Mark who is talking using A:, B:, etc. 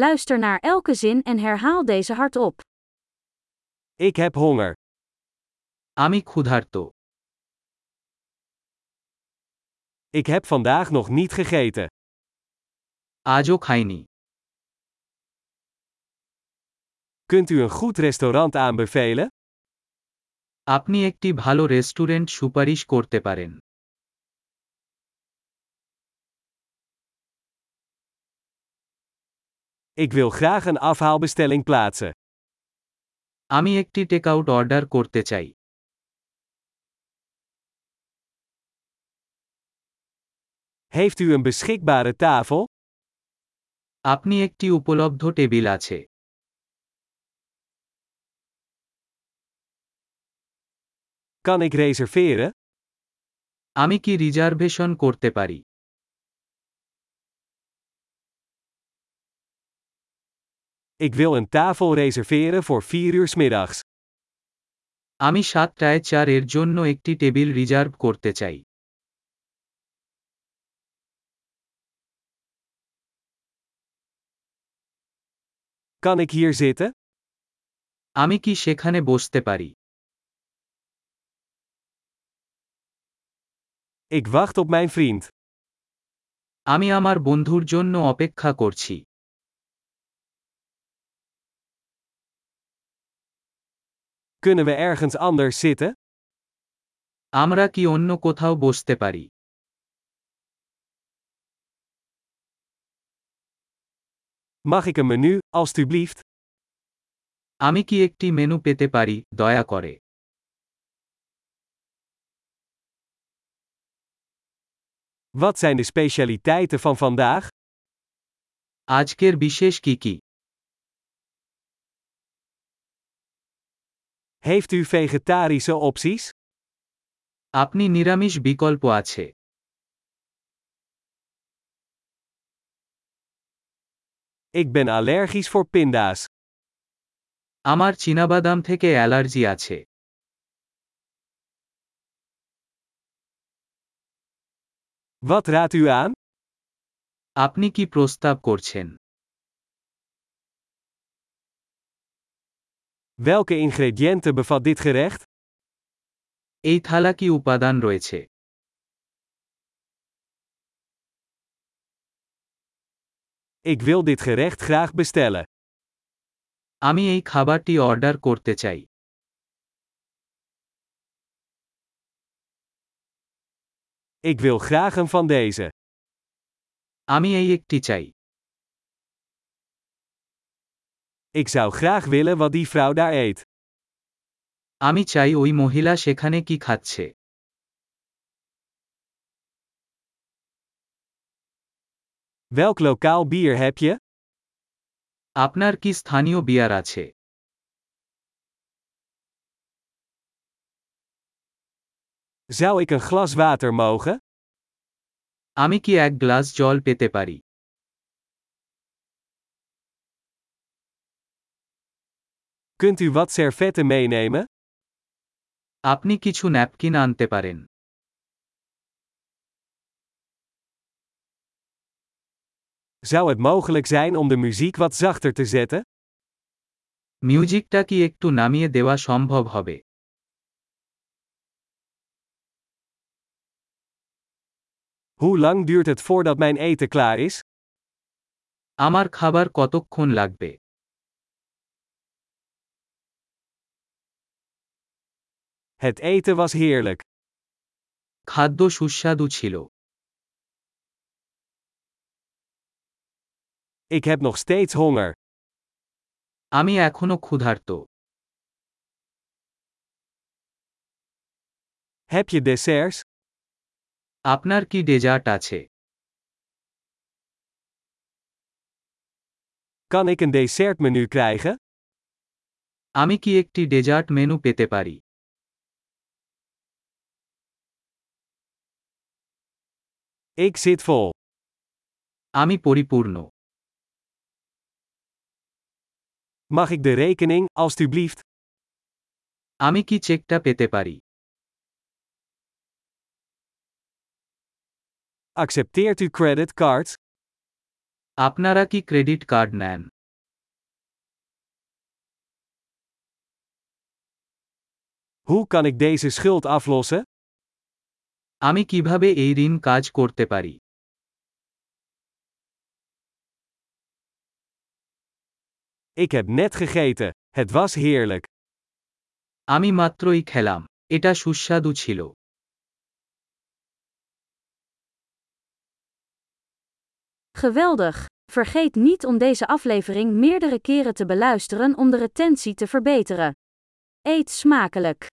A: Luister naar elke zin en herhaal deze hardop.
B: Ik heb honger.
C: আমি ক্ষুধার্ত
B: Ik heb vandaag nog niet gegeten.
C: আজও খাইনি
B: Kunt u een goed restaurant aanbevelen?
C: আপনি একটি ভালো রেস্টুরেন্ট সুপারিশ করতে পারেন
B: Ik wil graag een afhaalbestelling plaatsen.
C: আমি একটি টেকআউট অর্ডার করতে চাই
B: Heeft u een beschikbare tafel?
C: আপনি একটি উপলব্ধ টেবিল আছে
B: Kan ik reserveren?
C: আমি কি রিজার্ভেশন করতে পারি
B: Ik wil een tafel reserveren voor 4 uur 's middags.
C: আমি সাতটায় চার এর জন্য একটি টেবিল রিজার্ভ করতে চাই
B: Kan ik hier zitten?
C: আমি কি সেখানে বসতে পারি
B: Ik wacht op mijn vriend.
C: আমি আমার বন্ধুর জন্য অপেক্ষা করছি
B: Kunnen we ergens anders zitten?
C: আমরা কি অন্য কোথাও বসতে পারি
B: Mag ik een menu, alstublieft?
C: আমি কি একটি মেনু পেতে পারি দয়া করে
B: Wat zijn de specialiteiten van vandaag?
C: আজকের বিশেষ কি কি
B: Heeft u vegetarische opties?
C: আপনি নিরামিষ বিকল্প আছে
B: Ik ben allergisch voor pinda's.
C: আমার চীনাবাদাম থেকে অ্যালার্জি আছে
B: Wat raadt u aan?
C: আপনি কি প্রস্তাব করছেন
B: Welke ingrediënten bevat dit gerecht?
C: এই থালা কি উপাদান রয়েছে
B: Ik wil dit gerecht graag bestellen.
C: আমি এই খাবারটি অর্ডার করতে চাই
B: Ik wil graag een van deze.
C: আমি এই একটি চাই
B: Ik zou graag willen wat die vrouw daar eet.
C: আমি চাই ওই মহিলা সেখানে কি খাচ্ছে
B: Welk lokaal bier heb je?
C: আপনার কি স্থানীয় বিয়ার আছে
B: Zou ik een glas water mogen?
C: আমি কি এক গ্লাস জল পেতে পারি
B: Kunt u wat servetten meenemen?
C: আপনি কিছু ন্যাপকিন আনতে পারেন
B: Zou het mogelijk zijn om de muziek wat zachter te zetten?
C: মিউজিকটা কি একটু নামিয়ে দেওয়া সম্ভব হবে
B: Hoe lang duurt het voordat mijn eten klaar is?
C: আমার খাবার কতক্ষণ লাগবে
B: Het eten was heerlijk.
C: খাদ্য সুস্বাদু ছিল
B: Ik heb nog steeds honger.
C: আমি এখনও ক্ষুধার্ত
B: Heb je desserts?
C: আপনার কি ডেজার্ট আছে
B: Kan ik een dessertmenu krijgen?
C: আমি কি একটি ডেজার্ট মেনু পেতে পারি
B: Ik zit vol.
C: আমি পরিপূর্ণ
B: Mag ik de rekening, alstublieft?
C: আমি কি চেকটা পেতে পারি
B: Accepteert u creditcards?
C: আপনারা কি ক্রেডিট কার্ড নেন
B: Hoe kan ik deze schuld aflossen?
C: আমি কিভাবে এই ঋণ কাজ করতে পারি
B: Ik heb net gegeten. Het was heerlijk.
C: আমি মাত্রই খেলাম এটা সুস্বাদু ছিল
A: Geweldig! Vergeet niet om deze aflevering meerdere keren te beluisteren om de retentie te verbeteren. Eet smakelijk!